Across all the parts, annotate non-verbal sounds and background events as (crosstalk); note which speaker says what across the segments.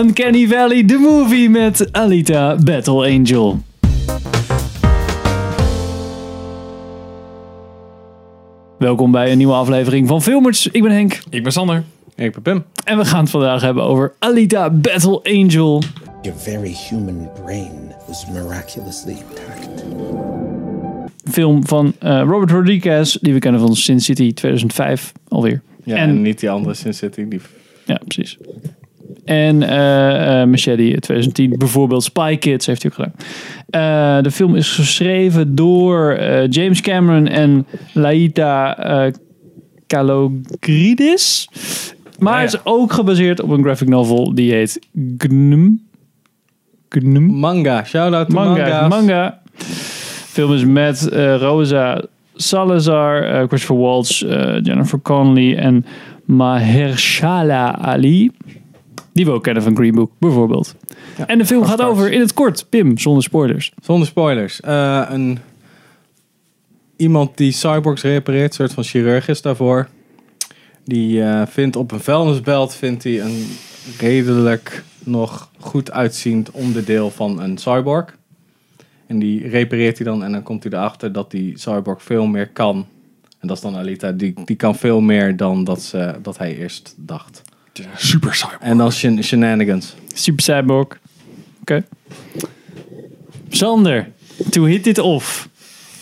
Speaker 1: Uncanny Valley, de movie met Alita Battle Angel. Welkom bij een nieuwe aflevering van Filmers. Ik ben Henk
Speaker 2: Ik ben Sander.
Speaker 3: Ik ben Pim.
Speaker 1: en we gaan het vandaag hebben over Alita Battle Angel.
Speaker 4: Your very human brain was miraculously intact.
Speaker 1: Een film van eh, Robert Rodriguez, die we kennen van Sin City 2005 alweer.
Speaker 3: Ja,
Speaker 1: En-
Speaker 3: en, niet die andere Sin City. Die...
Speaker 1: Ja, precies. En eh eh, Machete 2010, bijvoorbeeld Spy Kids heeft hij ook gedaan. Eh, de film is geschreven door eh, James Cameron en Laita eh Kalogridis. Maar
Speaker 2: Ah, ja.
Speaker 1: het is ook gebaseerd op een graphic novel die heet Gnum. Gnum?
Speaker 3: Manga. Shout-out to
Speaker 1: Manga.
Speaker 3: manga's.
Speaker 1: Manga. De film is met eh, Rosa Salazar, eh, Christopher Waltz, eh, Jennifer Connelly en Mahershala Ali. Die we ook kennen van Green Book, bijvoorbeeld.
Speaker 3: Ja,
Speaker 1: en de film gaat
Speaker 3: gaststars.
Speaker 1: over, in het kort, Pim, zonder spoilers.
Speaker 3: Zonder spoilers. Eh, een... Iemand die cyborgs repareert, een soort van chirurg is daarvoor. Die eh, vindt op een vuilnisbelt vindt hij een redelijk nog goed uitziend onderdeel van een cyborg. En die repareert hij dan en dan komt hij erachter dat die cyborg veel meer kan. En dat is dan Alita. Die, die kan veel meer dan dat, ze, dat hij eerst dacht.
Speaker 2: Super cyber.
Speaker 3: En dan shen- shenanigans.
Speaker 1: Super Cyborg. Oké. Sander, to hit dit off.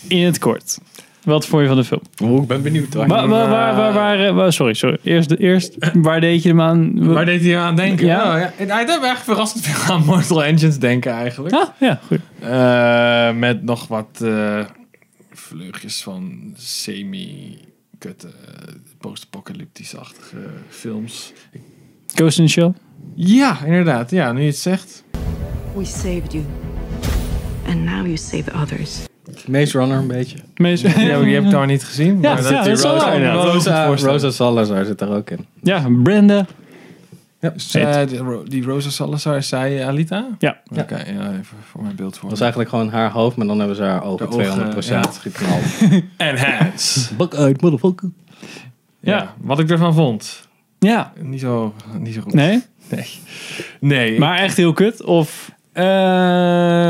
Speaker 1: In het kort. Wat vond je van de film?
Speaker 2: Oh, ik ben benieuwd. Waar,
Speaker 1: Waar, waar, waar, waar, waar, eh, waar- sorry, sorry. Eerst, eerst, waar deed je hem aan?
Speaker 2: waar deed hij aan denken?
Speaker 1: Ja.
Speaker 2: Oh, ja. Hij deed me echt verrassend veel aan Mortal Engines denken eigenlijk.
Speaker 1: Ah, ja, goed.
Speaker 2: Eh, met nog wat eh, vleugjes van semi-kutte, eh, post-apocalyptisch-achtige films.
Speaker 1: Ghost in the Shell.
Speaker 2: Ja, inderdaad. Ja, nu je het zegt. (laughs)
Speaker 5: We saved you. And now you save others.
Speaker 3: Maze Runner een beetje.
Speaker 1: Meest-
Speaker 2: Die heb ik- die heb ik daar niet gezien.
Speaker 1: Ja,
Speaker 2: maar
Speaker 1: ja,
Speaker 2: die
Speaker 1: dat is wel
Speaker 2: Rosa-
Speaker 1: waar,
Speaker 2: Rosa-
Speaker 1: inderdaad.
Speaker 2: Rosa-
Speaker 3: Oh, Rosa,
Speaker 2: Rosa-
Speaker 3: Rosa Salazar zit daar ook in.
Speaker 1: (laughs) Ja, Brenda.
Speaker 2: Zij- eh, die Ro- Die Rosa Salazar zei eh, Alita?
Speaker 1: Ja.
Speaker 2: Oké, ja, even voor mijn beeld voor.
Speaker 3: Dat is eigenlijk gewoon haar hoofd, maar dan hebben ze haar
Speaker 2: De
Speaker 3: ogen 200%
Speaker 2: ogen,
Speaker 3: geknald.
Speaker 2: En hands.
Speaker 3: Bak uit, motherfucker.
Speaker 2: Ja.
Speaker 1: Ja.
Speaker 2: wat ik ervan vond.
Speaker 1: Ja.
Speaker 2: Niet zo, niet zo goed.
Speaker 1: Nee?
Speaker 2: Nee. Nee.
Speaker 1: Maar echt heel kut? Of...
Speaker 2: Eh,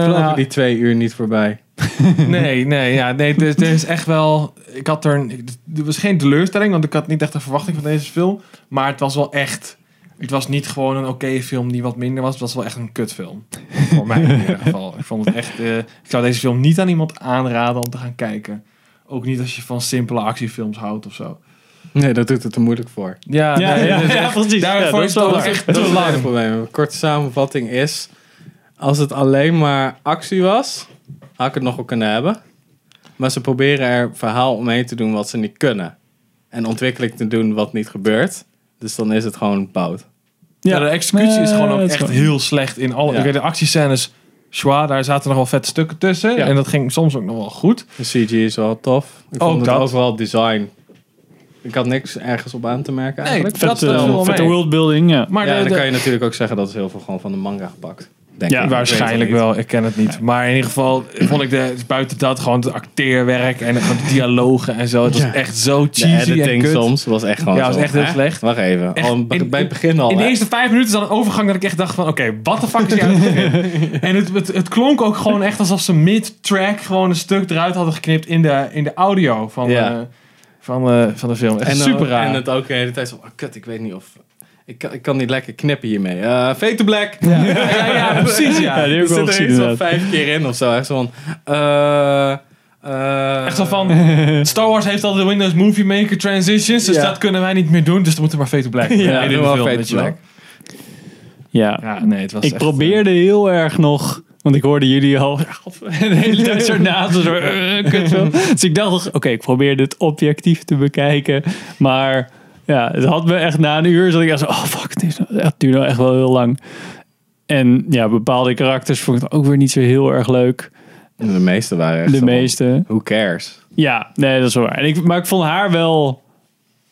Speaker 3: Lopen die twee uur niet voorbij.
Speaker 2: (laughs) nee, nee, ja, nee. dus Er, er is echt wel. Ik had er. een- Er was geen teleurstelling, want ik had niet echt een verwachting van deze film. Maar het was wel echt. Het was niet gewoon een oké film die wat minder was. Het was wel echt een kutfilm. Voor mij in ieder geval. Ik vond het echt. eh, ik zou deze film niet aan iemand aanraden om te gaan kijken. Ook niet als je van simpele actiefilms houdt of zo.
Speaker 3: Nee, dat doet het te moeilijk voor.
Speaker 2: Ja,
Speaker 1: Ja,
Speaker 2: Ah, nee,
Speaker 1: ja,
Speaker 2: dat is
Speaker 1: ja,
Speaker 2: echt-
Speaker 1: precies. Ja, dat
Speaker 2: Daarvoor is
Speaker 1: is
Speaker 2: het
Speaker 1: wel
Speaker 2: ook
Speaker 1: waar.
Speaker 2: echt
Speaker 3: Dat
Speaker 2: te
Speaker 3: is het hele
Speaker 2: lang.
Speaker 3: probleem. Een korte samenvatting is... Als het alleen maar actie was, had ik het nog wel kunnen hebben. Maar ze proberen er verhaal omheen te doen wat ze niet kunnen. En ontwikkeling te doen wat niet gebeurt. Dus dan is het gewoon bout.
Speaker 2: Ja, de executie is gewoon ook
Speaker 1: Nee, dat
Speaker 2: echt
Speaker 1: is wel-
Speaker 2: heel slecht in alle.
Speaker 3: Ja.
Speaker 2: Ik weet, de actiescènes, schwa, daar zaten nog wel vette stukken tussen.
Speaker 3: Ja.
Speaker 2: En dat ging soms ook nog wel goed.
Speaker 3: De CG is wel tof. Ik
Speaker 2: Ook
Speaker 3: vond het
Speaker 2: Oh, dat.
Speaker 3: overal design. Ik had niks ergens op aan te merken
Speaker 2: Nee,
Speaker 3: eigenlijk.
Speaker 2: dat
Speaker 1: Vette,
Speaker 2: viel wel
Speaker 1: vette
Speaker 2: mee.
Speaker 1: eh, worldbuilding, ja.
Speaker 2: Maar
Speaker 3: ja,
Speaker 2: de-
Speaker 3: dan
Speaker 2: de-
Speaker 3: kan je natuurlijk ook zeggen dat is heel veel gewoon van de manga gepakt. Denk
Speaker 1: Ja,
Speaker 3: ik.
Speaker 2: waarschijnlijk
Speaker 3: Ik weet het
Speaker 2: wel, ik ken het niet. Maar in ieder geval vond ik de, buiten dat gewoon het acteerwerk en gewoon de dialogen en zo. Het was echt zo
Speaker 3: niet.
Speaker 2: cheesy
Speaker 3: De
Speaker 2: en
Speaker 3: editing
Speaker 2: kut.
Speaker 3: soms was echt gewoon
Speaker 2: Ja, was
Speaker 3: zo,
Speaker 2: echt heel
Speaker 3: hè?
Speaker 2: slecht.
Speaker 3: Wacht even.
Speaker 2: Echt,
Speaker 3: al,
Speaker 2: in-
Speaker 3: bij het begin al.
Speaker 2: In de
Speaker 3: hè?
Speaker 2: eerste vijf minuten is dan een overgang dat ik echt dacht van... Oké, wat de fuck is hier aan het
Speaker 3: (laughs)
Speaker 2: begin? En het, het, het klonk ook gewoon echt alsof ze mid-track gewoon een stuk eruit hadden geknipt in de, in de audio van,
Speaker 3: Ja.
Speaker 2: eh, van, eh, van de film. Echt
Speaker 3: en, dan-
Speaker 2: super raar.
Speaker 3: En het ook de hele tijd zo, oh, kut, ik weet niet of... Ik kan, ik kan niet lekker knippen hiermee. Eh fade to black. (laughs) Ja, ja, ja, precies. Ja.
Speaker 1: Ja, die heb ik
Speaker 3: Er
Speaker 1: wel
Speaker 3: zit er
Speaker 1: gezien,
Speaker 3: iets van
Speaker 1: inderdaad.
Speaker 3: vijf keer in of zo. Echt zo van... eh, eh,
Speaker 2: Echt zo van, Star Wars heeft al de Windows Movie Maker transitions, dus
Speaker 3: Ja.
Speaker 2: dat kunnen wij niet meer doen, dus dan moeten we maar Fade to Black.
Speaker 3: Ja,
Speaker 2: in
Speaker 3: doe
Speaker 2: de
Speaker 3: maar
Speaker 2: film,
Speaker 3: Fade
Speaker 2: weet
Speaker 3: to
Speaker 2: je wel.
Speaker 3: Black.
Speaker 1: Ja.
Speaker 2: Ja, nee, het was
Speaker 1: Ik
Speaker 2: echt, eh,
Speaker 1: probeerde heel erg nog... Want ik hoorde jullie al (laughs) de hele tijd zo naast. me, Zo,
Speaker 2: (laughs)
Speaker 1: eh, kutfilm. dus ik dacht, nog, oké, ik probeer dit objectief te bekijken. Maar ja, het had me echt na een uur... zat ik echt zo, oh fuck, het, is, het duurde nou echt wel heel lang. En ja, bepaalde karakters vond ik ook weer niet zo heel erg leuk.
Speaker 3: De meeste waren echt
Speaker 1: De
Speaker 3: zo van,
Speaker 1: meeste.
Speaker 3: Who cares?
Speaker 1: Ja, nee, dat is wel waar. En ik, maar ik vond haar wel...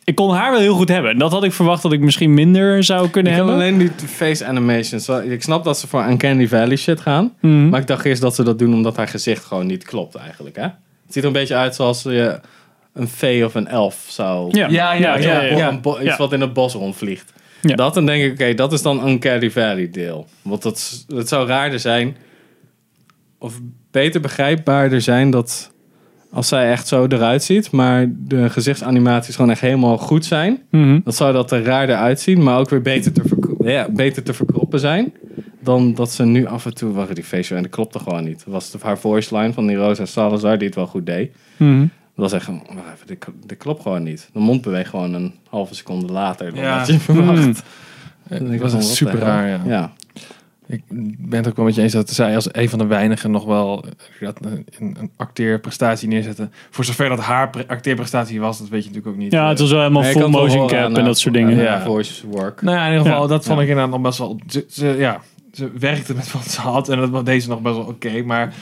Speaker 1: Ik kon haar wel heel goed hebben. En dat had ik verwacht dat ik misschien minder zou kunnen
Speaker 3: Ik heb
Speaker 1: hebben.
Speaker 3: alleen die face animations. Wel, Ik snap dat ze voor Uncanny Valley shit gaan.
Speaker 2: Mhm.
Speaker 3: Maar ik dacht eerst dat ze dat doen omdat haar gezicht gewoon niet klopt eigenlijk. Hè? Het ziet er een beetje uit zoals je een fee of een elf zou...
Speaker 2: Ja, ja,
Speaker 3: Weet je
Speaker 2: ja,
Speaker 3: wel,
Speaker 2: ja.
Speaker 3: een bo- Iets
Speaker 1: Ja.
Speaker 3: wat in het bos rondvliegt.
Speaker 1: Ja.
Speaker 3: Dat dan denk ik, oké, dat is dan Uncanny Valley deel. Want dat, is- het zou raarder zijn, of beter begrijpbaarder zijn dat als zij echt zo eruit ziet, maar de gezichtsanimaties gewoon echt helemaal goed zijn.
Speaker 1: Mhm.
Speaker 3: Dat zou dat er raarder uitzien, maar ook weer beter te, verko- ja, beter te verkroppen zijn. Dan dat ze nu af en toe waren die facial en dat klopte gewoon niet. Dat was de- haar voice line van die Roos en Salazar die het wel goed deed.
Speaker 1: Mhm.
Speaker 3: Dat was echt, gewoon, wacht even, dit, kl- dit klopt gewoon niet. De mond beweegt gewoon een halve seconde later dan
Speaker 2: Ja.
Speaker 3: dat je verwacht.
Speaker 1: Mhm.
Speaker 3: Dan
Speaker 2: Het
Speaker 3: denk ik,
Speaker 2: eh, was
Speaker 3: wat
Speaker 2: echt
Speaker 3: de
Speaker 2: super
Speaker 3: hel.
Speaker 2: raar, ja.
Speaker 3: Ja,
Speaker 2: Ik ben het ook wel met je eens dat zij als een van de weinigen nog wel eh, dat, eh, een, een acteerprestatie neerzetten. Voor zover dat haar pre- acteerprestatie was, dat weet je natuurlijk ook niet.
Speaker 1: Ja, het was wel helemaal
Speaker 3: Nee, je
Speaker 1: full
Speaker 3: kan het wel
Speaker 1: motion
Speaker 3: horen
Speaker 1: cap
Speaker 3: aan,
Speaker 1: en
Speaker 3: eh,
Speaker 1: dat soort dingen.
Speaker 3: aan
Speaker 1: Ja.
Speaker 3: haar
Speaker 2: Ja.
Speaker 3: voice work.
Speaker 2: Nou ja, in ieder geval,
Speaker 1: Ja.
Speaker 2: dat vond
Speaker 3: Ja.
Speaker 2: ik inderdaad nog best wel... Ze, ze- ja, ze werkte met wat ze had en dat was deze nog best wel oké. maar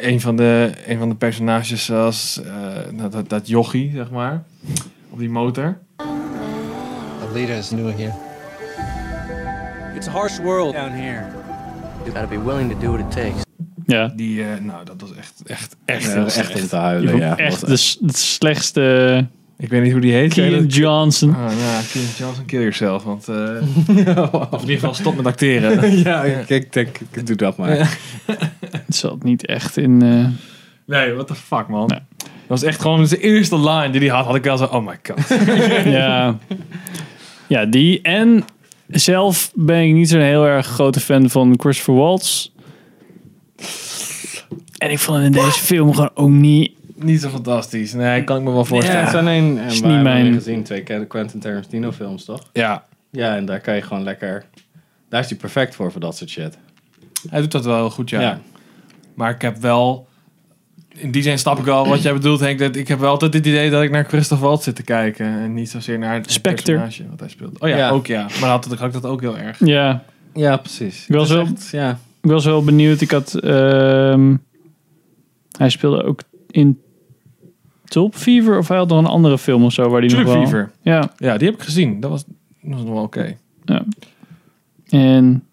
Speaker 2: een van, de, een van de personages was eh, dat, dat, dat jochie, zeg maar, op die motor.
Speaker 4: Alita is new here.
Speaker 6: It's a harsh world down here. You gotta be willing to do what it takes.
Speaker 2: Die, eh, nou, dat was echt, echt, echt
Speaker 3: Echt, eh,
Speaker 2: heel slecht.
Speaker 3: echt om te
Speaker 1: Ik
Speaker 3: huilen,
Speaker 1: vond
Speaker 3: ja.
Speaker 1: echt
Speaker 3: Was-
Speaker 1: de, s- de slechtste
Speaker 2: Ik weet niet hoe die heet. ken je
Speaker 1: Kean
Speaker 2: dat?
Speaker 1: Johnson.
Speaker 2: Ah, ja, Kean Johnson, kill yourself. Want, eh, Of in ieder geval stop met acteren.
Speaker 3: ja, ik, ik denk, ik doe dat maar.
Speaker 1: Het zat niet echt in... eh,
Speaker 2: Nee, what the fuck, man.
Speaker 1: Nee.
Speaker 2: Dat was echt gewoon zijn eerste line die hij had. Had ik wel zo, oh my god. (laughs)
Speaker 1: ja. ja, die. En zelf ben ik niet zo'n heel erg grote fan van Christopher Waltz. En ik vond hem in deze film gewoon ook niet...
Speaker 2: Niet zo fantastisch. Nee, kan ik me wel
Speaker 3: Ja,
Speaker 2: voorstellen.
Speaker 3: het
Speaker 2: Ja.
Speaker 3: zijn een,
Speaker 1: Is
Speaker 3: en we
Speaker 1: niet
Speaker 3: hebben
Speaker 1: mijn-
Speaker 3: weer gezien twee Quentin Tarantino films, toch? Ja, en daar kan je gewoon lekker. Daar is hij perfect voor, voor dat soort shit.
Speaker 2: hij doet dat wel heel goed, ja.
Speaker 3: Ja.
Speaker 2: Maar ik heb wel... In die zin snap ik wel wat jij bedoelt, Henk. Dat ik heb wel altijd het idee dat ik naar Christoph Waltz zit te kijken. En niet zozeer naar het
Speaker 1: Spectre.
Speaker 2: personage wat hij speelt. Oh ja,
Speaker 3: Ja.
Speaker 2: ook ja. Maar had, dat- had ik dat ook heel erg. Dus
Speaker 1: Ja,
Speaker 3: Ja, precies.
Speaker 1: Ik was
Speaker 3: Het is
Speaker 1: wel-
Speaker 3: echt- ja.
Speaker 1: ik was wel benieuwd. Ik had... ehm, hij speelde ook in Tulp Fever of hij had nog een andere film of zo waar die nog
Speaker 2: Tulip
Speaker 1: wel...
Speaker 2: Fever.
Speaker 1: Ja,
Speaker 2: Ja, die heb ik gezien. Dat was, dat was nog wel oké.
Speaker 1: en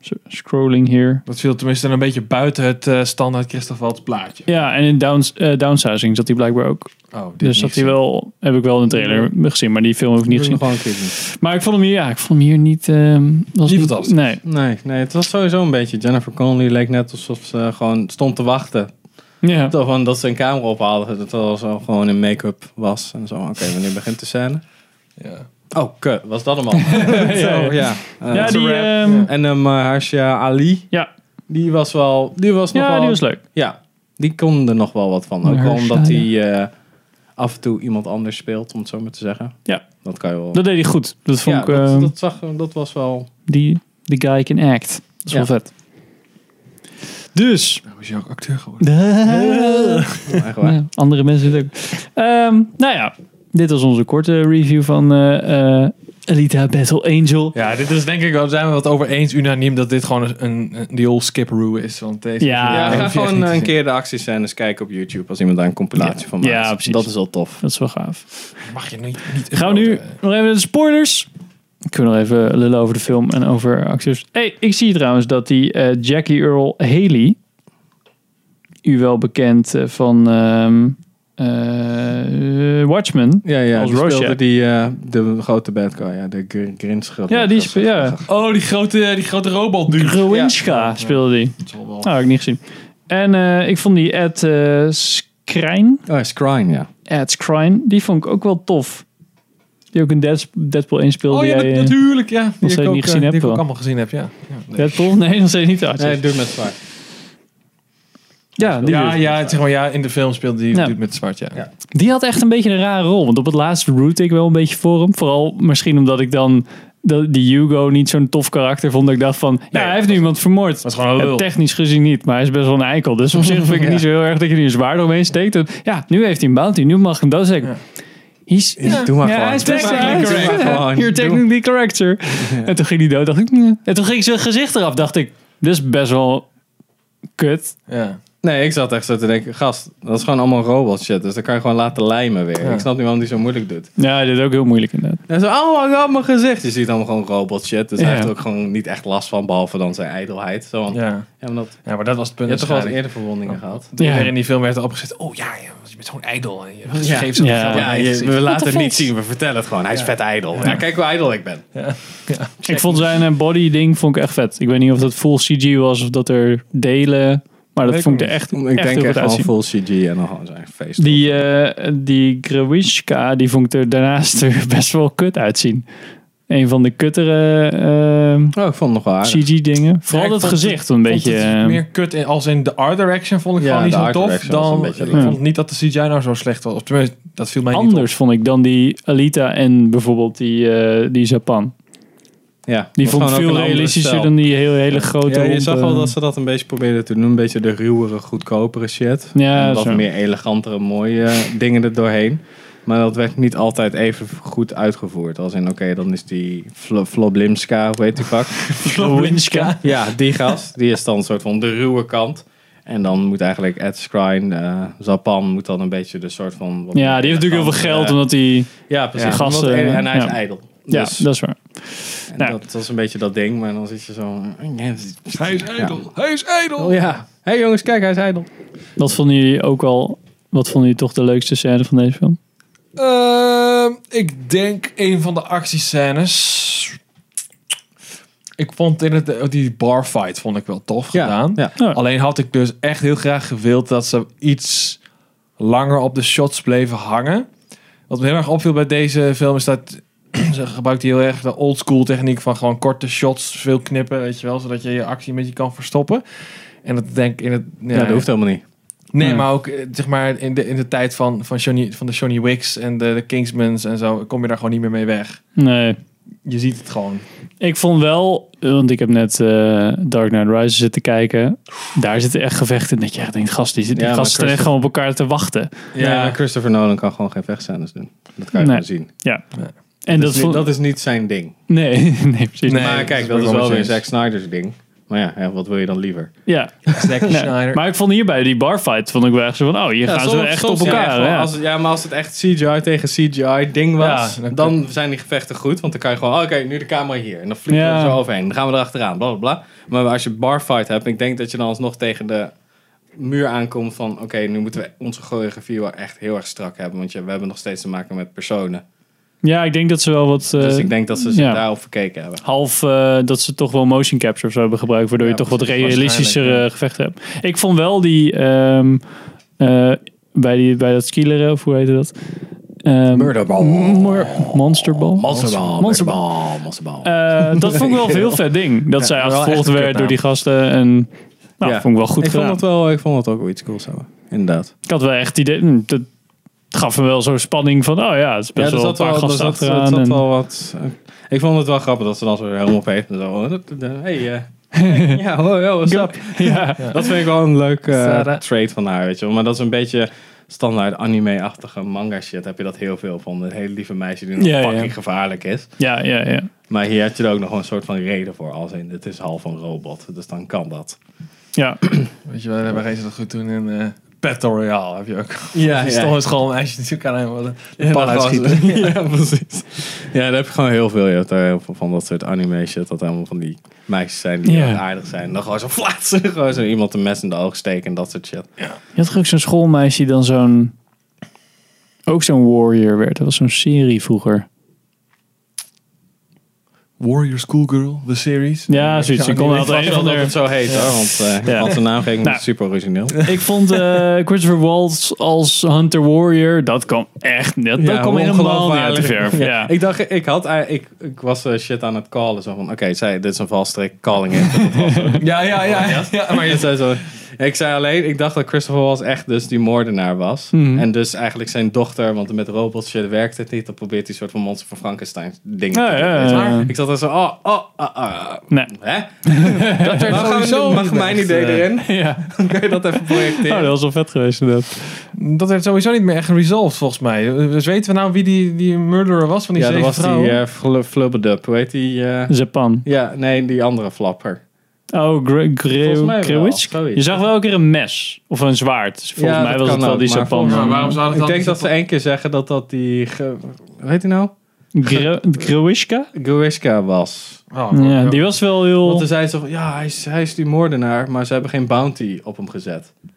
Speaker 1: zo, scrolling hier.
Speaker 2: Dat viel tenminste een beetje buiten het eh, standaard Christoph Waltz plaatje.
Speaker 1: Ja, en in downs, eh, Downsizing zat hij blijkbaar ook.
Speaker 2: Oh, dit
Speaker 1: Dus dat hij wel, heb ik wel in de trailer gezien, maar die film heb ik niet gezien.
Speaker 3: Gewoon kidding.
Speaker 1: Maar ik vond hem hier, ja, ik vond hem hier niet. ehm was
Speaker 2: Niet fantastisch.
Speaker 1: Nee.
Speaker 3: Nee, nee, het was sowieso een beetje. Jennifer Connelly leek net alsof ze gewoon stond te wachten.
Speaker 1: Ja. (laughs)
Speaker 3: Toch van dat ze een camera ophaalde. Dat al zo gewoon in make-up was. En zo, oké, wanneer begint de scène?
Speaker 2: Ja.
Speaker 3: Oh, ke, was dat
Speaker 1: (laughs)
Speaker 3: hem al?
Speaker 1: ja.
Speaker 3: Zo, ja. Eh,
Speaker 1: Ja, die,
Speaker 2: rap.
Speaker 1: ehm,
Speaker 3: En eh Mahershala Ali.
Speaker 1: Ja.
Speaker 3: Die was wel. Die was nog
Speaker 1: ja,
Speaker 3: wel.
Speaker 1: die was leuk.
Speaker 3: Ja, die kon er nog wel wat van. Ook wel
Speaker 1: Mahershala.
Speaker 3: omdat hij eh, af en toe iemand anders speelt, om het zo maar te zeggen.
Speaker 1: Ja.
Speaker 3: Dat kan je wel.
Speaker 1: Dat deed hij goed. Dat vond
Speaker 3: ja,
Speaker 1: ik,
Speaker 3: dat,
Speaker 1: ehm,
Speaker 3: dat, zag, eh, dat was wel...
Speaker 1: die, die guy can act. Dat is
Speaker 3: Ja.
Speaker 1: wel vet. Dus.
Speaker 3: (laughs)
Speaker 2: Nou is hij ook acteur geworden.
Speaker 1: Ja,
Speaker 3: Echt waar.
Speaker 1: andere mensen het ook. Ehm, nou ja, dit was onze korte review van eh, eh, Elita Battle Angel.
Speaker 2: Ja, dit is denk ik wel, zijn we wat over eens unaniem dat dit gewoon een, een die old skip roe is. Want deze
Speaker 1: Ja,
Speaker 3: Ja,
Speaker 1: dat
Speaker 3: ga
Speaker 2: hoef je echt
Speaker 3: gewoon eh,
Speaker 2: niet te
Speaker 3: een
Speaker 2: zien.
Speaker 3: keer de actiescènes kijken op YouTube als iemand daar een compilatie van maakt.
Speaker 1: Ja, precies.
Speaker 3: Dat is wel tof.
Speaker 1: Dat is wel gaaf.
Speaker 2: Mag je niet. niet
Speaker 1: Gaan we nu
Speaker 2: uploaden.
Speaker 1: nog even naar de spoilers. Kunnen we nog even lullen over de film en over acteurs. hey, ik zie trouwens dat die eh, Jackie Earl Haley, u wel bekend eh, van ehm, eh, Watchmen.
Speaker 3: Ja, ja.
Speaker 1: Als
Speaker 3: die
Speaker 1: Rorschach.
Speaker 3: speelde die, eh, de grote bad guy, ja, de Gr- Grinch.
Speaker 1: Ja, die spe- ja.
Speaker 2: Oh, die grote, die grote robot nu.
Speaker 1: Growinska speelde die.
Speaker 2: Dat zal wel.
Speaker 1: Nou, heb ik niet gezien. En eh, ik vond die Ed eh Skrine,
Speaker 3: Oh, Scrine, ja.
Speaker 1: Ed Skrine, die vond ik ook wel tof. Die ook in Deads- Deadpool 1 speelde.
Speaker 2: Oh ja,
Speaker 1: jij,
Speaker 2: nat-
Speaker 1: eh,
Speaker 2: natuurlijk, ja. Die
Speaker 1: steeds
Speaker 2: ik ook,
Speaker 1: niet
Speaker 2: eh,
Speaker 1: gezien
Speaker 2: Die
Speaker 1: hebt,
Speaker 2: ik ook
Speaker 1: wel.
Speaker 2: allemaal gezien heb, ja. Ja, nee.
Speaker 1: Deadpool? Nee, nog steeds niet. Ah,
Speaker 3: Nee, doe met zwaar.
Speaker 1: ja, die
Speaker 2: ja, ja, zeg maar, ja, in de film speelde die
Speaker 1: Ja.
Speaker 2: doet met zwart, ja.
Speaker 3: Nou. Ja.
Speaker 1: Die had echt een beetje een rare rol. Want op het laatste route ik wel een beetje voor hem. Vooral misschien omdat ik dan dat die Hugo niet zo'n tof karakter vond. Dat ik dacht van, ja, hij heeft nu iemand vermoord.
Speaker 2: was gewoon een
Speaker 1: Ja,
Speaker 2: lul.
Speaker 1: technisch gezien niet, maar hij is best wel een eikel. Dus op zich vind ik
Speaker 3: (laughs)
Speaker 1: het niet zo heel erg dat je er een zwaard omheen steekt. En ja, nu heeft hij een bounty. Nu mag ik hem doodsteken.
Speaker 2: Ja.
Speaker 1: He's,
Speaker 3: Ja, doe maar gewoon.
Speaker 1: hij is
Speaker 3: Doe
Speaker 1: technically
Speaker 3: maar gewoon. Doe maar
Speaker 1: correct.
Speaker 3: gewoon.
Speaker 1: You're technically correct, sir. En toen ging hij "Mm." dood. Dacht ik, nee. En toen ging zijn gezicht eraf. Dacht ik, dit is best wel kut.
Speaker 2: Ja.
Speaker 3: Nee, ik zat echt zo te denken, gast, dat is gewoon allemaal robot shit. Dus dan kan je gewoon laten lijmen weer.
Speaker 2: Ja.
Speaker 3: Ik snap niet waarom die zo moeilijk doet.
Speaker 1: Ja, dit is ook heel moeilijk inderdaad.
Speaker 3: En zo, oh my god, mijn gezicht. Je ziet allemaal gewoon robot shit. Dus
Speaker 1: Ja.
Speaker 3: hij heeft er ook gewoon niet echt last van, behalve dan zijn ijdelheid. Zo, want, ja.
Speaker 2: Ja.
Speaker 3: maar dat,
Speaker 2: ja, maar dat was het
Speaker 3: je
Speaker 2: punt.
Speaker 3: hebt toch wel eens
Speaker 2: waarschijnlijk.
Speaker 3: eerder verwondingen gehad?
Speaker 2: Toen
Speaker 1: Ja.
Speaker 2: er in die film werd er opgezet, oh ja, ja je bent zo'n ijdel. En je
Speaker 3: Ja.
Speaker 2: geeft ze
Speaker 1: Ja.
Speaker 2: geld aan
Speaker 1: Ja,
Speaker 2: je gezicht.
Speaker 3: we laten het niet zien, we vertellen het gewoon. Hij is vet ijdel. Ja. kijk hoe ijdel ik ben.
Speaker 1: Ik vond zijn eh, body ding vond ik echt vet. Ik weet niet of dat full CG was of dat er delen. Maar dat
Speaker 2: Weet
Speaker 1: vond ik
Speaker 2: ik
Speaker 1: er echt,
Speaker 3: Ik
Speaker 1: echt
Speaker 3: denk
Speaker 1: heel goed
Speaker 3: echt gewoon
Speaker 1: uitzien.
Speaker 3: full CG en dan gewoon zijn feest.
Speaker 1: Die, eh, die Grewishka, die vond ik er daarnaast (laughs) er best wel kut uitzien. Een van de kuttere eh,
Speaker 3: Oh, ik vond het nog wel aardig.
Speaker 1: CG-dingen.
Speaker 2: Ja,
Speaker 1: Vooral
Speaker 2: ik
Speaker 1: het
Speaker 2: vond het-
Speaker 1: gezicht, een
Speaker 2: vond
Speaker 1: beetje...
Speaker 2: het
Speaker 1: eh,
Speaker 2: meer kut in, als in de art direction vond ik
Speaker 3: Ja,
Speaker 2: gewoon niet
Speaker 3: de
Speaker 2: zo
Speaker 3: art
Speaker 2: tof.
Speaker 3: direction was een
Speaker 2: Dan,
Speaker 3: beetje
Speaker 2: ik
Speaker 3: leuk.
Speaker 2: vond niet dat de CGI nou zo slecht was. Of tenminste, dat viel mij niet op.
Speaker 1: anders, vond ik, dan die Alita en bijvoorbeeld die, eh, die Japan.
Speaker 3: ja,
Speaker 1: Die
Speaker 3: was
Speaker 1: vond ik
Speaker 3: gewoon ook
Speaker 1: veel
Speaker 3: een andere
Speaker 1: realistischer
Speaker 3: stijl.
Speaker 1: dan die hele, hele grote...
Speaker 3: Ja, je
Speaker 1: ronde-
Speaker 3: zag wel dat ze dat een beetje probeerden te doen. Een beetje de ruwere, goedkopere shit.
Speaker 1: Ja,
Speaker 3: en wat
Speaker 1: (laughs) zo.
Speaker 3: meer elegantere, mooie eh, (laughs) dingen er doorheen. Maar dat werd niet altijd even goed uitgevoerd. Als in, oké, dan is die Flo- Floblimska, hoe heet die vak?
Speaker 1: (laughs) Slowinska.
Speaker 3: ja, die gast. Die is dan een soort van de ruwe kant. En dan moet eigenlijk Ed Skrine, eh Zapan, moet dan een beetje de soort van... wat
Speaker 1: Ja, die heeft natuurlijk heel
Speaker 3: elegante,
Speaker 1: veel geld,
Speaker 3: eh,
Speaker 1: omdat die...
Speaker 3: ja, precies.
Speaker 1: die gasten,
Speaker 3: Omdat- en, en hij is
Speaker 1: ja.
Speaker 3: ijdel.
Speaker 1: Ja,
Speaker 3: Dus,
Speaker 1: dat is waar.
Speaker 3: en
Speaker 1: nou.
Speaker 3: dat was een beetje dat ding. Maar dan zit je zo... eh,
Speaker 2: Hij is ijdel. Hij is ijdel.
Speaker 3: Oh ja. Hé hey jongens, kijk, hij is ijdel.
Speaker 1: Wat vonden jullie ook al... Wat vonden jullie toch de leukste scène van deze film?
Speaker 2: Ehm, ik denk een van de actiescènes. Ik vond in het, eh, die barfight vond ik wel tof gedaan.
Speaker 3: Ja.
Speaker 1: Ja.
Speaker 2: Alleen had ik dus echt heel graag gewild dat ze iets langer op de shots bleven hangen. Wat me heel erg opviel bij deze film is dat (clears throat) ze gebruikt heel erg de old school techniek van gewoon korte shots, veel knippen, weet je wel, zodat je je actie een beetje kan verstoppen. En dat denk ik in het
Speaker 3: Ja, dat hoeft helemaal niet.
Speaker 2: Nee,
Speaker 1: Ja.
Speaker 2: maar ook eh, zeg maar in de, in de tijd van, van, Johnny, van de Johnny Wicks en de, de Kingsmans en zo, kom je daar gewoon niet meer mee weg.
Speaker 1: Nee.
Speaker 2: Je ziet het gewoon.
Speaker 1: Ik vond wel, want ik heb net eh, Dark Knight Rises zitten kijken. Daar zitten echt gevechten in dat je echt denkt, gast, die, die
Speaker 3: Ja, maar
Speaker 1: gasten staan echt
Speaker 3: Christopher-
Speaker 1: gewoon op elkaar te wachten.
Speaker 3: Ja, maar Christopher Nolan kan gewoon geen vechtscènes doen. Dat kan je
Speaker 1: Nee.
Speaker 3: gewoon zien.
Speaker 1: En
Speaker 3: dat,
Speaker 1: dat,
Speaker 3: is niet,
Speaker 1: vond-
Speaker 3: dat is niet zijn ding.
Speaker 1: Nee, (laughs) nee, precies.
Speaker 2: Nee.
Speaker 3: maar
Speaker 2: dat
Speaker 3: kijk,
Speaker 2: is
Speaker 3: dat is
Speaker 2: wel
Speaker 3: wel
Speaker 2: met
Speaker 3: weer
Speaker 2: je
Speaker 3: Zack
Speaker 2: eens.
Speaker 3: Snyder's ding. Maar ja, hè, wat wil je dan liever?
Speaker 1: Ja,
Speaker 3: (laughs)
Speaker 2: Zack
Speaker 1: nee.
Speaker 2: Snyder.
Speaker 1: maar ik vond hierbij die barfight, vond ik wel echt zo van, oh, hier gaan ze echt op elkaar.
Speaker 3: Ja,
Speaker 1: Ja,
Speaker 3: Als, ja, maar als het echt CGI tegen CGI ding was,
Speaker 2: Ja,
Speaker 3: dan,
Speaker 2: dan-
Speaker 3: zijn die gevechten goed. Want dan kan je gewoon, oh, oké, nu de camera hier. En dan vliegen
Speaker 1: Ja.
Speaker 3: we er zo overheen. Dan gaan we erachteraan, bla bla bla. Maar als je barfight hebt, ik denk dat je dan alsnog tegen de muur aankomt van... Oké, nu moeten we onze choreografie wel echt heel erg strak hebben. Want ja, we hebben nog steeds te maken met personen.
Speaker 1: Ja, ik denk dat ze wel wat... eh,
Speaker 3: Dus ik denk dat ze zich
Speaker 1: ja.
Speaker 3: daarop verkeken hebben.
Speaker 1: Half eh, dat ze toch wel motion capture of zo hebben gebruikt. Waardoor
Speaker 3: Ja,
Speaker 1: je toch wat
Speaker 3: precies,
Speaker 1: realistischere
Speaker 3: waarschijnlijk,
Speaker 1: gevechten hebt. Ik vond wel die... ehm, eh, bij, die bij dat skileren, of hoe heette dat? Ehm,
Speaker 3: Murderball.
Speaker 1: Mor- Monsterball.
Speaker 3: Monsterball,
Speaker 1: Monsterball.
Speaker 3: monsterball, monsterball.
Speaker 1: Eh, dat vond ik
Speaker 3: (laughs)
Speaker 1: wel een heel vet ding. Dat zij
Speaker 2: wel
Speaker 1: achtervolgd
Speaker 2: echt een
Speaker 1: werd
Speaker 2: kutnaam.
Speaker 1: door die gasten. En, nou,
Speaker 3: Ja.
Speaker 1: vond ik wel goed
Speaker 3: ik
Speaker 1: gedaan.
Speaker 3: Vond het wel, ik vond het ook wel iets cools hebben. Inderdaad.
Speaker 1: Ik had wel echt het idee... hm, Dat gaf me wel zo'n spanning van... Oh ja, het is best wel een paar gasten
Speaker 3: zat, er
Speaker 1: achteraan.
Speaker 3: zat
Speaker 1: en-
Speaker 3: wel wat... eh, ik vond het wel grappig dat ze dan zo helemaal op heeft. En zo, eh, hey, eh, (laughs) hey, ja, ho, yo, what's up?
Speaker 1: ja.
Speaker 3: Dat vind ik wel een leuk eh,
Speaker 2: Sarah.
Speaker 3: trait van haar, weet je wel. Maar dat is een beetje standaard anime-achtige manga shit. Heb je dat heel veel van. Een hele lieve meisje die nog
Speaker 1: Ja, ja.
Speaker 3: fucking gevaarlijk is.
Speaker 1: ja, ja, ja.
Speaker 3: Maar hier had je er ook nog een soort van reden voor. Als in, het is half een robot. Dus dan kan dat.
Speaker 1: Ja,
Speaker 2: Weet je wel, daar gaan ze dat goed doen in eh Battle Royale. Heb je ook.
Speaker 3: Ja,
Speaker 2: Die stomme schoolmeisje natuurlijk aan hem de
Speaker 3: Ja,
Speaker 2: pan
Speaker 3: dat was-
Speaker 2: uitschieten.
Speaker 3: (laughs) ja, precies. Ja, daar heb je gewoon heel veel. Je hebt daar heel veel van dat soort anime shit. Dat helemaal van die meisjes zijn die
Speaker 1: Ja.
Speaker 3: heel aardig zijn. En dan gewoon zo flatsen. (laughs) Gewoon zo iemand een mes in de oog steken en dat soort shit.
Speaker 1: je had toch ook zo'n schoolmeisje die dan zo'n... Ook zo'n warrior werd. Dat was zo'n serie vroeger.
Speaker 2: Warrior Schoolgirl, the
Speaker 3: (laughs)
Speaker 2: series.
Speaker 1: Ja, zoiets. Ik kon
Speaker 2: die-
Speaker 1: wel altijd een van
Speaker 3: Dat
Speaker 1: de...
Speaker 3: het zo heet hoor. Want eh
Speaker 1: Ja.
Speaker 3: als de naam ging,
Speaker 1: Nou.
Speaker 3: super origineel.
Speaker 1: Ik vond eh, Christopher Waltz als Hunter Warrior... Dat kwam echt... Dat, dat kwam helemaal niet uit de verf. Ja.
Speaker 3: Ik dacht, ik had, eh, ik, ik was eh, shit aan het callen. Zo van, oké, zij, dit is een valstrik, calling in.
Speaker 2: Ja, ja, ja. (laughs) ja,
Speaker 3: (laughs)
Speaker 2: ja, maar
Speaker 3: Maar
Speaker 2: je
Speaker 3: je zei zo. Ik zei alleen, ik dacht dat Christopher Walls echt dus die moordenaar was.
Speaker 1: Mhm.
Speaker 3: En dus eigenlijk zijn dochter, want met robots shit werkt het niet. Dan probeert hij soort van monster van Frankenstein ding
Speaker 1: Nou, Ja,
Speaker 3: te doen.
Speaker 1: ja,
Speaker 3: weet je
Speaker 1: ja.
Speaker 3: wel. Ik zat er zo, oh, oh, ah, ah.
Speaker 1: Nee.
Speaker 3: Hè? dat er
Speaker 2: sowieso
Speaker 3: mag
Speaker 2: niet
Speaker 3: mijn
Speaker 2: echt,
Speaker 3: idee
Speaker 2: eh,
Speaker 3: erin? (laughs)
Speaker 1: Ja.
Speaker 3: Kun je dat even projecteren?
Speaker 1: Oh, dat was wel vet geweest inderdaad.
Speaker 2: Dat werd sowieso niet meer echt resolved, volgens mij. Dus weten we nou wie die, die murderer was van die
Speaker 3: ja, dat
Speaker 2: zeven
Speaker 3: was die
Speaker 2: vrouwen?
Speaker 3: eh, flu- flubbedup. Hoe heet die? eh,
Speaker 1: Japan.
Speaker 3: ja, nee, die andere flapper.
Speaker 1: Oh, Gre- Gre-
Speaker 3: Volgens mij wel,
Speaker 1: Grewitsch?
Speaker 3: zoiets.
Speaker 1: Je zag wel een keer een mes of een zwaard. Dus volgens
Speaker 3: Ja,
Speaker 1: mij
Speaker 3: dat
Speaker 1: was
Speaker 3: kan
Speaker 1: het wel
Speaker 3: ook,
Speaker 1: die
Speaker 3: maar
Speaker 1: Japan.
Speaker 3: volgens
Speaker 2: Ja, waarom zou Oh, dat
Speaker 3: Ik
Speaker 2: dan
Speaker 3: denk
Speaker 2: niet
Speaker 3: dat ze één keer zeggen dat dat die... Ge, hoe heet die nou?
Speaker 1: Gre- Grewishka?
Speaker 3: Gruishka was.
Speaker 2: Oh,
Speaker 1: Ja, die was wel heel...
Speaker 3: Want toen zeiden ze van, ja, hij is, hij is die moordenaar, maar ze hebben geen bounty op hem gezet. Toen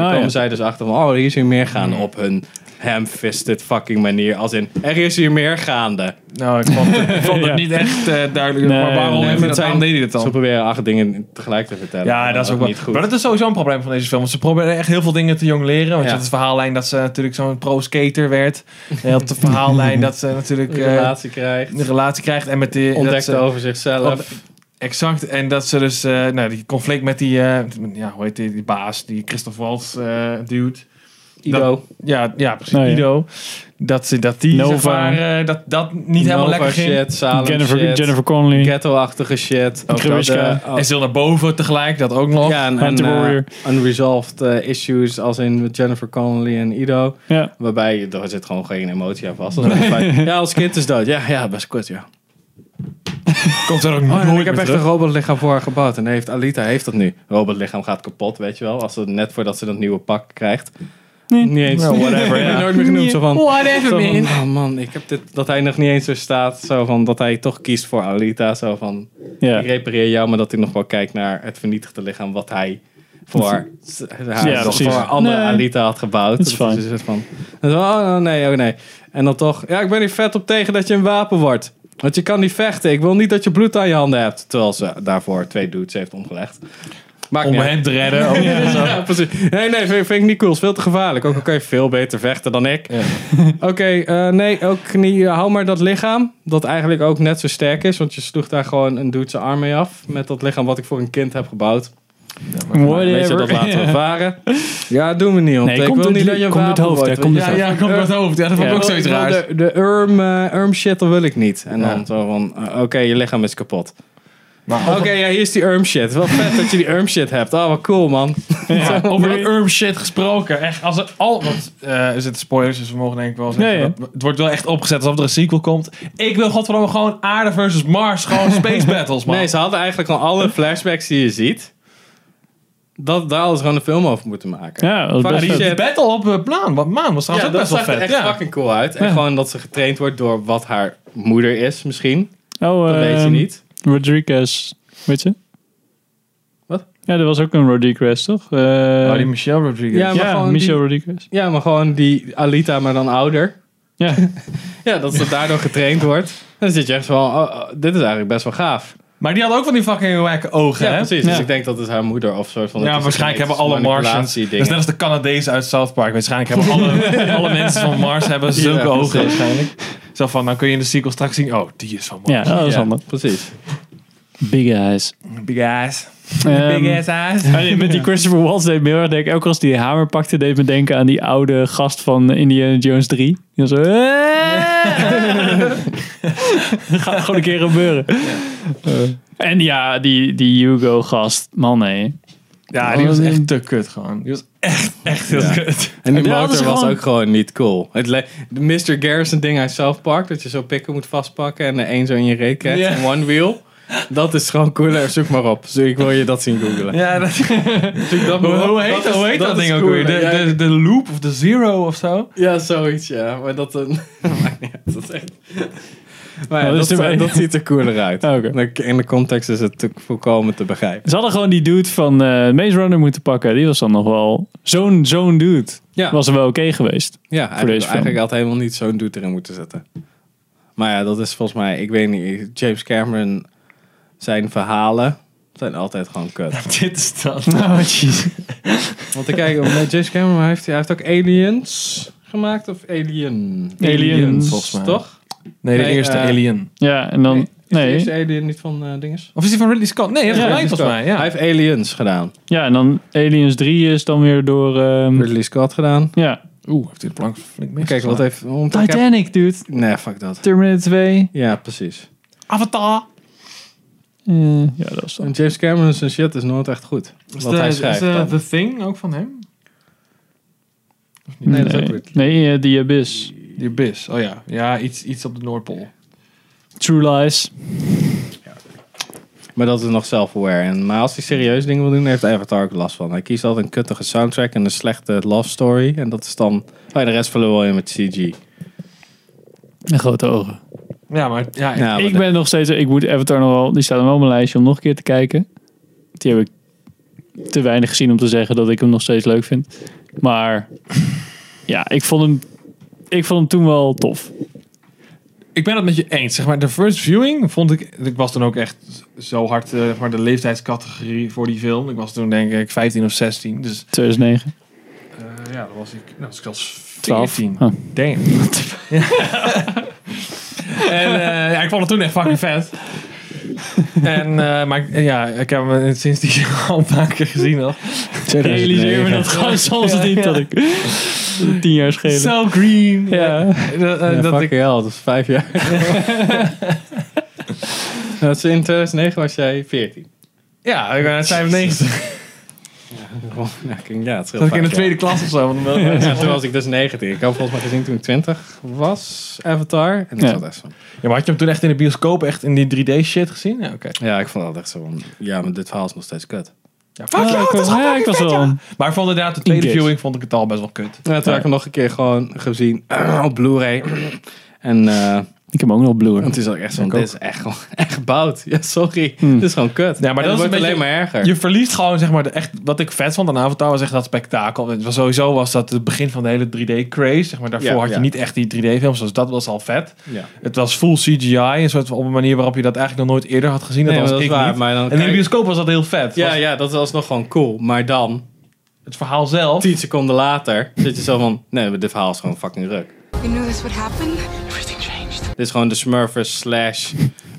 Speaker 2: Oh,
Speaker 1: Ah, ja.
Speaker 3: kwamen zij dus achter van, oh, hier is hier meer gaande op hun ham-fisted fucking manier. Als in, er is hier meer gaande.
Speaker 2: Nou, ik vond, ik vond het
Speaker 1: Ja.
Speaker 2: niet echt eh, duidelijk.
Speaker 1: Nee,
Speaker 2: maar waarom
Speaker 1: nee,
Speaker 2: heeft
Speaker 1: maar
Speaker 2: hij dat, waarom deed hij dat
Speaker 3: Ze
Speaker 2: dan?
Speaker 3: proberen acht dingen tegelijk te vertellen.
Speaker 2: Ja, dat is ook wel
Speaker 3: niet goed.
Speaker 2: Maar dat is sowieso een probleem van deze film. Want ze proberen echt heel veel dingen te jong leren. Want
Speaker 3: Ja.
Speaker 2: je had het verhaallijn dat ze natuurlijk zo'n pro-skater werd. Je had de verhaallijn dat ze
Speaker 3: (laughs)
Speaker 2: natuurlijk
Speaker 3: Een
Speaker 2: eh,
Speaker 3: relatie krijgt,
Speaker 2: een relatie krijgt. En met die, dat eh,
Speaker 3: ontdekt
Speaker 2: ze-
Speaker 3: over zichzelf.
Speaker 2: Exact. En dat ze dus, eh, nou, die conflict met die, eh, ja, hoe heet die, die baas, die Christoph Waltz eh dude.
Speaker 3: Ido.
Speaker 2: Ja, ja precies,
Speaker 1: Nou ja.
Speaker 2: Ido. Dat, ze, dat die,
Speaker 1: Nova.
Speaker 2: zeg maar, eh, dat, dat niet helemaal
Speaker 3: Nova
Speaker 2: lekker ging.
Speaker 3: shit, Salem
Speaker 1: Jennifer,
Speaker 3: shit,
Speaker 1: Jennifer Connelly.
Speaker 3: ghetto-achtige shit.
Speaker 1: Ook Gruishka.
Speaker 3: dat, eh,
Speaker 2: En ze wil naar boven tegelijk, dat ook nog.
Speaker 3: Ja, en, en
Speaker 1: Hunter
Speaker 3: eh,
Speaker 1: Warrior.
Speaker 3: unresolved eh, issues als in met Jennifer Connelly en Ido.
Speaker 1: Ja.
Speaker 3: Waarbij je- er zit gewoon geen emotie aan vast. Dat is wel fijn. ja, als kind is dood. Ja, ja best kort, ja.
Speaker 2: Komt er ook
Speaker 3: Oh,
Speaker 2: nooit
Speaker 3: en
Speaker 2: meer
Speaker 3: ik heb echt
Speaker 2: terug.
Speaker 3: een robotlichaam voor haar gebouwd. En heeft, Alita heeft dat nu. Robotlichaam gaat kapot, weet je wel. Als ze, net voordat ze dat nieuwe pak krijgt.
Speaker 1: Nee.
Speaker 3: Niet eens. whatever. Ja. Nooit meer genoemd. Zo van,
Speaker 2: Whatever,
Speaker 3: zo van,
Speaker 2: man.
Speaker 3: oh man, ik heb dit, dat hij nog niet eens zo staat. Zo van, dat hij toch kiest voor Alita. Zo van,
Speaker 1: Ja.
Speaker 3: ik repareer jou, maar dat hij nog wel kijkt naar het vernietigde lichaam wat hij voor haar
Speaker 1: Ja,
Speaker 3: nog
Speaker 1: precies.
Speaker 3: voor andere
Speaker 1: Nee.
Speaker 3: Alita had gebouwd.
Speaker 1: Dat is fijn.
Speaker 3: een soort van, dat is wel, oh nee, oh nee. En dan toch, ja, ik ben hier vet op tegen dat je een wapen wordt. Want je kan niet vechten. Ik wil niet dat je bloed aan je handen hebt. Terwijl ze daarvoor twee dudes heeft omgelegd. Maakt
Speaker 2: Om
Speaker 3: niet
Speaker 2: hem te redden. ook.
Speaker 3: uit. (laughs) Ja, precies. Nee, nee, vind, vind ik niet cool. Is veel te gevaarlijk. Ook al kan je veel beter vechten dan ik. Oké, eh, nee, ook niet. Hou maar dat lichaam. Dat eigenlijk ook net zo sterk is. Want je sloeg daar gewoon een dude zijn arm mee af. Met dat lichaam wat ik voor een kind heb gebouwd.
Speaker 1: Whatever.
Speaker 3: Weet je, dat laten
Speaker 1: (laughs)
Speaker 3: (laughs) we varen. Ja, doen we niet. Want
Speaker 1: Nee,
Speaker 3: ik
Speaker 1: komt
Speaker 3: wil
Speaker 1: het
Speaker 3: niet
Speaker 1: li-
Speaker 3: dat je een
Speaker 1: komt het
Speaker 3: wapen
Speaker 1: hoofd,
Speaker 3: wordt,
Speaker 1: hè, komt
Speaker 3: weet
Speaker 2: Ja,
Speaker 3: je.
Speaker 2: ja, komt met het hoofd. Ja, dat vond ik ook zoiets
Speaker 3: Ik wil
Speaker 2: raars.
Speaker 3: De, de urm, eh, urm shit, dat wil ik niet. En
Speaker 2: Ja.
Speaker 3: dan zo van, eh, oké, je lichaam is kapot.
Speaker 2: Maar
Speaker 3: Oké, ja, hier is die urm shit. Wel vet dat je die urm shit hebt. Oh, wat cool, man.
Speaker 2: Ja, over die urm shit gesproken. Echt, als er al. Want eh, er zitten spoilers, dus we mogen denk ik wel zeggen.
Speaker 1: Ja, ja.
Speaker 2: dat- het wordt wel echt opgezet alsof er een sequel komt. Ik wil godverdomme gewoon aarde versus Mars. Gewoon
Speaker 3: (laughs)
Speaker 2: space battles, man.
Speaker 3: Nee, ze hadden eigenlijk gewoon alle flashbacks die je ziet. Dat, daar hadden ze gewoon een film over moeten maken.
Speaker 1: Ja, dat was
Speaker 3: Fuck
Speaker 1: best
Speaker 3: die
Speaker 1: vet.
Speaker 3: shit.
Speaker 2: die battle op eh, Maan. Wat Maan was
Speaker 3: Ja,
Speaker 2: trouwens
Speaker 3: dat
Speaker 2: ook best
Speaker 3: zag
Speaker 2: wel
Speaker 3: er
Speaker 2: vet.
Speaker 3: echt
Speaker 2: Ja.
Speaker 3: fucking cool uit. En
Speaker 1: Ja.
Speaker 3: gewoon dat ze getraind wordt door wat haar moeder is, misschien.
Speaker 1: Oh,
Speaker 3: Dat weet je
Speaker 1: ehm,
Speaker 3: niet.
Speaker 1: Rodriguez. Weet je?
Speaker 3: Wat?
Speaker 1: Ja, er was ook een Rodriguez, toch? Eh,
Speaker 2: Oh, die Michelle Rodriguez.
Speaker 3: Ja, maar
Speaker 1: ja,
Speaker 3: gewoon die-
Speaker 1: Michel Rodriguez.
Speaker 3: Ja, maar gewoon die Alita, maar dan ouder.
Speaker 1: Ja.
Speaker 3: (laughs) Ja, dat ze daardoor getraind wordt. Dan zit je echt van, oh, oh, dit is eigenlijk best wel gaaf.
Speaker 2: Maar die had ook van die fucking wacke
Speaker 3: Ja,
Speaker 2: ogen, hè?
Speaker 3: precies.
Speaker 1: Ja.
Speaker 3: Dus ik denk dat het haar moeder of soort van...
Speaker 2: Ja, waarschijnlijk hebben alle Martians. Dat is net als de Canadezen uit South Park. Waarschijnlijk hebben alle, alle mensen van Mars hebben zulke
Speaker 3: Ja, precies.
Speaker 2: ogen waarschijnlijk. Zo van, dan kun je in de sequel straks zien. Oh, die is van Mars.
Speaker 1: ja, dat was handig.
Speaker 3: Precies.
Speaker 1: Big eyes.
Speaker 2: Big ass.
Speaker 1: Ehm,
Speaker 2: Big ass ass.
Speaker 1: Ah, nee, (laughs) met die Christopher Waltz deed me heel erg denken. Ook als die hamer pakte, deed me denken aan die oude gast van Indiana Jones 3. Die was zo... Dat (laughs) gaat gewoon een keer gebeuren. Eh, en ja, die, die Hugo-gast. Man, nee.
Speaker 2: Ja, die was echt te kut gewoon. Die was echt, echt heel
Speaker 3: Ja.
Speaker 2: kut.
Speaker 3: En die
Speaker 1: Ja, dat is
Speaker 3: motor was
Speaker 1: gewoon-
Speaker 3: ook gewoon niet cool. Het le- de Mr. Garrison ding uit South Park, dat je zo pikken moet vastpakken en er één zo in je reet krijgt,
Speaker 2: Ja.
Speaker 3: een one wheel. Dat is gewoon cooler. Zoek maar op. Zo, Ik wil je dat zien googelen.
Speaker 2: Ja, dat,
Speaker 3: Zoek dat maar
Speaker 2: hoe,
Speaker 3: op.
Speaker 2: hoe heet dat,
Speaker 3: is-
Speaker 2: hoe heet dat,
Speaker 3: is
Speaker 2: ding ook
Speaker 3: cooler.
Speaker 2: weer? De,
Speaker 3: Ja,
Speaker 2: de, de loop of de zero of zo?
Speaker 3: (laughs) Ja, zoiets, ja. Maar dat, een, (laughs) maakt niet uit, dat is echt... Maar ja,
Speaker 1: Oh, dat
Speaker 3: dat,
Speaker 1: is de
Speaker 3: dat,
Speaker 1: mening.
Speaker 3: ziet er cooler uit.
Speaker 1: Oh, oké.
Speaker 3: Dan- In de context is het te- volkomen te begrijpen.
Speaker 1: Ze hadden gewoon die dude van eh Maze Runner moeten pakken. Die was dan nog wel... Zo'n zo'n dude
Speaker 3: Ja,
Speaker 1: was er wel oké geweest.
Speaker 3: ja
Speaker 1: deze
Speaker 3: eigenlijk,
Speaker 1: film.
Speaker 3: eigenlijk had helemaal niet zo'n doet erin moeten zetten. Maar ja, dat is volgens mij... Ik weet niet, James Cameron... Zijn verhalen zijn altijd gewoon kut.
Speaker 2: Dit is (laughs) dat.
Speaker 1: Oh, jeez.
Speaker 3: Want ik kijk, met James Cameron hij heeft hij heeft ook Aliens gemaakt of Alien?
Speaker 1: Aliens.
Speaker 2: volgens mij.
Speaker 3: Toch?
Speaker 2: Nee, de
Speaker 3: Nee,
Speaker 2: eerste
Speaker 3: eh,
Speaker 2: Alien.
Speaker 1: Ja, en dan...
Speaker 3: Nee.
Speaker 1: Nee.
Speaker 3: Is de Alien niet van eh dinges?
Speaker 2: Of is die van Ridley Scott? Nee, hij heeft
Speaker 1: Ja,
Speaker 2: gelijk volgens mij.
Speaker 3: Hij
Speaker 2: Ja.
Speaker 3: heeft Aliens gedaan.
Speaker 1: Ja, en dan Aliens 3 is dan weer door... ehm,
Speaker 3: Ridley Scott gedaan.
Speaker 1: ja.
Speaker 2: Oeh, heeft hij de plank flink mis.
Speaker 3: Kijk, wat heeft... want ik heb-
Speaker 1: Titanic, dude.
Speaker 3: Nee, fuck dat.
Speaker 1: Terminator 2.
Speaker 3: Ja, precies.
Speaker 2: Avatar.
Speaker 1: Eh, ja, dat was dan.
Speaker 3: En James Cameron zijn shit is nooit echt goed.
Speaker 2: Is
Speaker 3: wat
Speaker 2: de,
Speaker 3: hij schrijft.
Speaker 2: Is de,
Speaker 3: dan.
Speaker 2: The Thing ook van hem?
Speaker 3: nee, dat is ook
Speaker 1: Nee,
Speaker 3: Ridley.
Speaker 1: nee eh, The Abyss.
Speaker 2: Die Abyss. Oh ja. Ja, iets, iets op de Noordpool.
Speaker 1: True Lies.
Speaker 3: Maar dat is nog self-aware. En, maar als hij serieus dingen wil doen, heeft Avatar ook last van. Hij kiest altijd een kuttige soundtrack en een slechte love story. En dat is dan... Oh, de rest vullen we wel in met CG.
Speaker 1: En grote ogen.
Speaker 2: Ja, maar ja,
Speaker 3: Ja, maar
Speaker 1: ik ben nog steeds... Ik moet Avatar nog wel... Die staat nog wel op mijn lijstje om nog een keer te kijken. Die heb ik te weinig gezien om te zeggen dat ik hem nog steeds leuk vind. Maar ja, ik vond hem, ik vond hem toen wel tof.
Speaker 2: ik ben het met je eens. Zeg maar, de first viewing vond ik... Ik was toen ook echt zo hard, eh, zeg maar, de leeftijdscategorie voor die film. Ik was toen denk ik 15 of 16. Dus
Speaker 1: 2009,
Speaker 2: eh, ja, dan was ik, nou, was ik zelfs
Speaker 1: 12.
Speaker 2: 14.
Speaker 1: Oh.
Speaker 2: Damn.
Speaker 3: (laughs)
Speaker 2: en eh, ja, ik vond het toen echt fucking vet. en, eh, maar ik- ja, ik heb hem sinds die (laughs) al een paar keer gezien. Al.
Speaker 1: Ah, Realiseer me dat gewoon (laughs) soms niet dat ik tien jaar schelen.
Speaker 2: So green.
Speaker 1: Ja.
Speaker 2: Dat, eh,
Speaker 3: Ja,
Speaker 2: dat
Speaker 3: fuck
Speaker 2: ik,
Speaker 3: hell, dat is vijf jaar.
Speaker 2: (laughs)
Speaker 3: dat is in 2009 was jij 14.
Speaker 2: ja, ik ben uit 95.
Speaker 3: Oh, Ja, het
Speaker 2: Dat ik in de tweede klas of zo. want dan-
Speaker 3: Ja, toen was ik dus 19. Ik had volgens mij gezien toen ik 20 was, Avatar. En ik
Speaker 1: Ja.
Speaker 3: zat echt zo.
Speaker 2: Ja, maar had je hem toen echt in de bioscoop, echt in die 3D shit gezien? Ja, oké.
Speaker 3: Ja, ik vond dat echt zo. van, Ja, maar dit verhaal is nog steeds kut.
Speaker 2: Ja, fuck
Speaker 1: Ah,
Speaker 2: jou,
Speaker 1: ik
Speaker 2: het is
Speaker 1: was,
Speaker 2: gewoon
Speaker 1: ja, ik
Speaker 2: fucking
Speaker 1: was
Speaker 2: vet,
Speaker 1: wel.
Speaker 2: ja.
Speaker 1: een-
Speaker 2: Maar ik vond inderdaad, de tweede
Speaker 1: Engage.
Speaker 2: viewing vond ik het al best wel kut.
Speaker 3: Ja, toen heb ik hem nog een keer gewoon gezien (clears throat) op Blu-ray. En eh,
Speaker 1: Ik heb hem ook nog Blu-ray.
Speaker 3: en toen zat ik echt zo. van,
Speaker 2: ook. Hmm.
Speaker 3: Dit is echt, gewoon- (laughs) echt bout. Ja, sorry. Dit is gewoon kut.
Speaker 2: Ja, maar
Speaker 3: En
Speaker 2: dat
Speaker 3: het
Speaker 2: is
Speaker 3: wordt
Speaker 2: een
Speaker 3: alleen
Speaker 2: beetje-
Speaker 3: maar erger.
Speaker 2: Je verliest gewoon, zeg maar, de, echt, wat ik vet vond aan Avatar was echt dat spektakel. Het was, sowieso was dat het begin van de hele 3D-craze. Zeg maar, daarvoor
Speaker 3: Ja,
Speaker 2: had je
Speaker 3: ja.
Speaker 2: niet echt die 3D-films, dus dat was al vet.
Speaker 3: Ja.
Speaker 2: Het was full CGI, een soort van, op een manier waarop je dat eigenlijk nog nooit eerder had gezien. Dat
Speaker 3: Nee,
Speaker 2: was
Speaker 3: maar dat is
Speaker 2: ik
Speaker 3: waar,
Speaker 2: niet.
Speaker 3: maar dan
Speaker 2: en in
Speaker 3: kijk-
Speaker 2: de bioscoop was dat heel vet.
Speaker 3: Ja,
Speaker 2: Was
Speaker 3: ja, dat was nog gewoon cool. Maar dan,
Speaker 2: Het verhaal zelf.
Speaker 3: 10 seconden later, zit je zo van... Nee, maar dit verhaal is gewoon fucking ruk.
Speaker 7: You knew this would happen?
Speaker 3: Dit is gewoon de Smurfers slash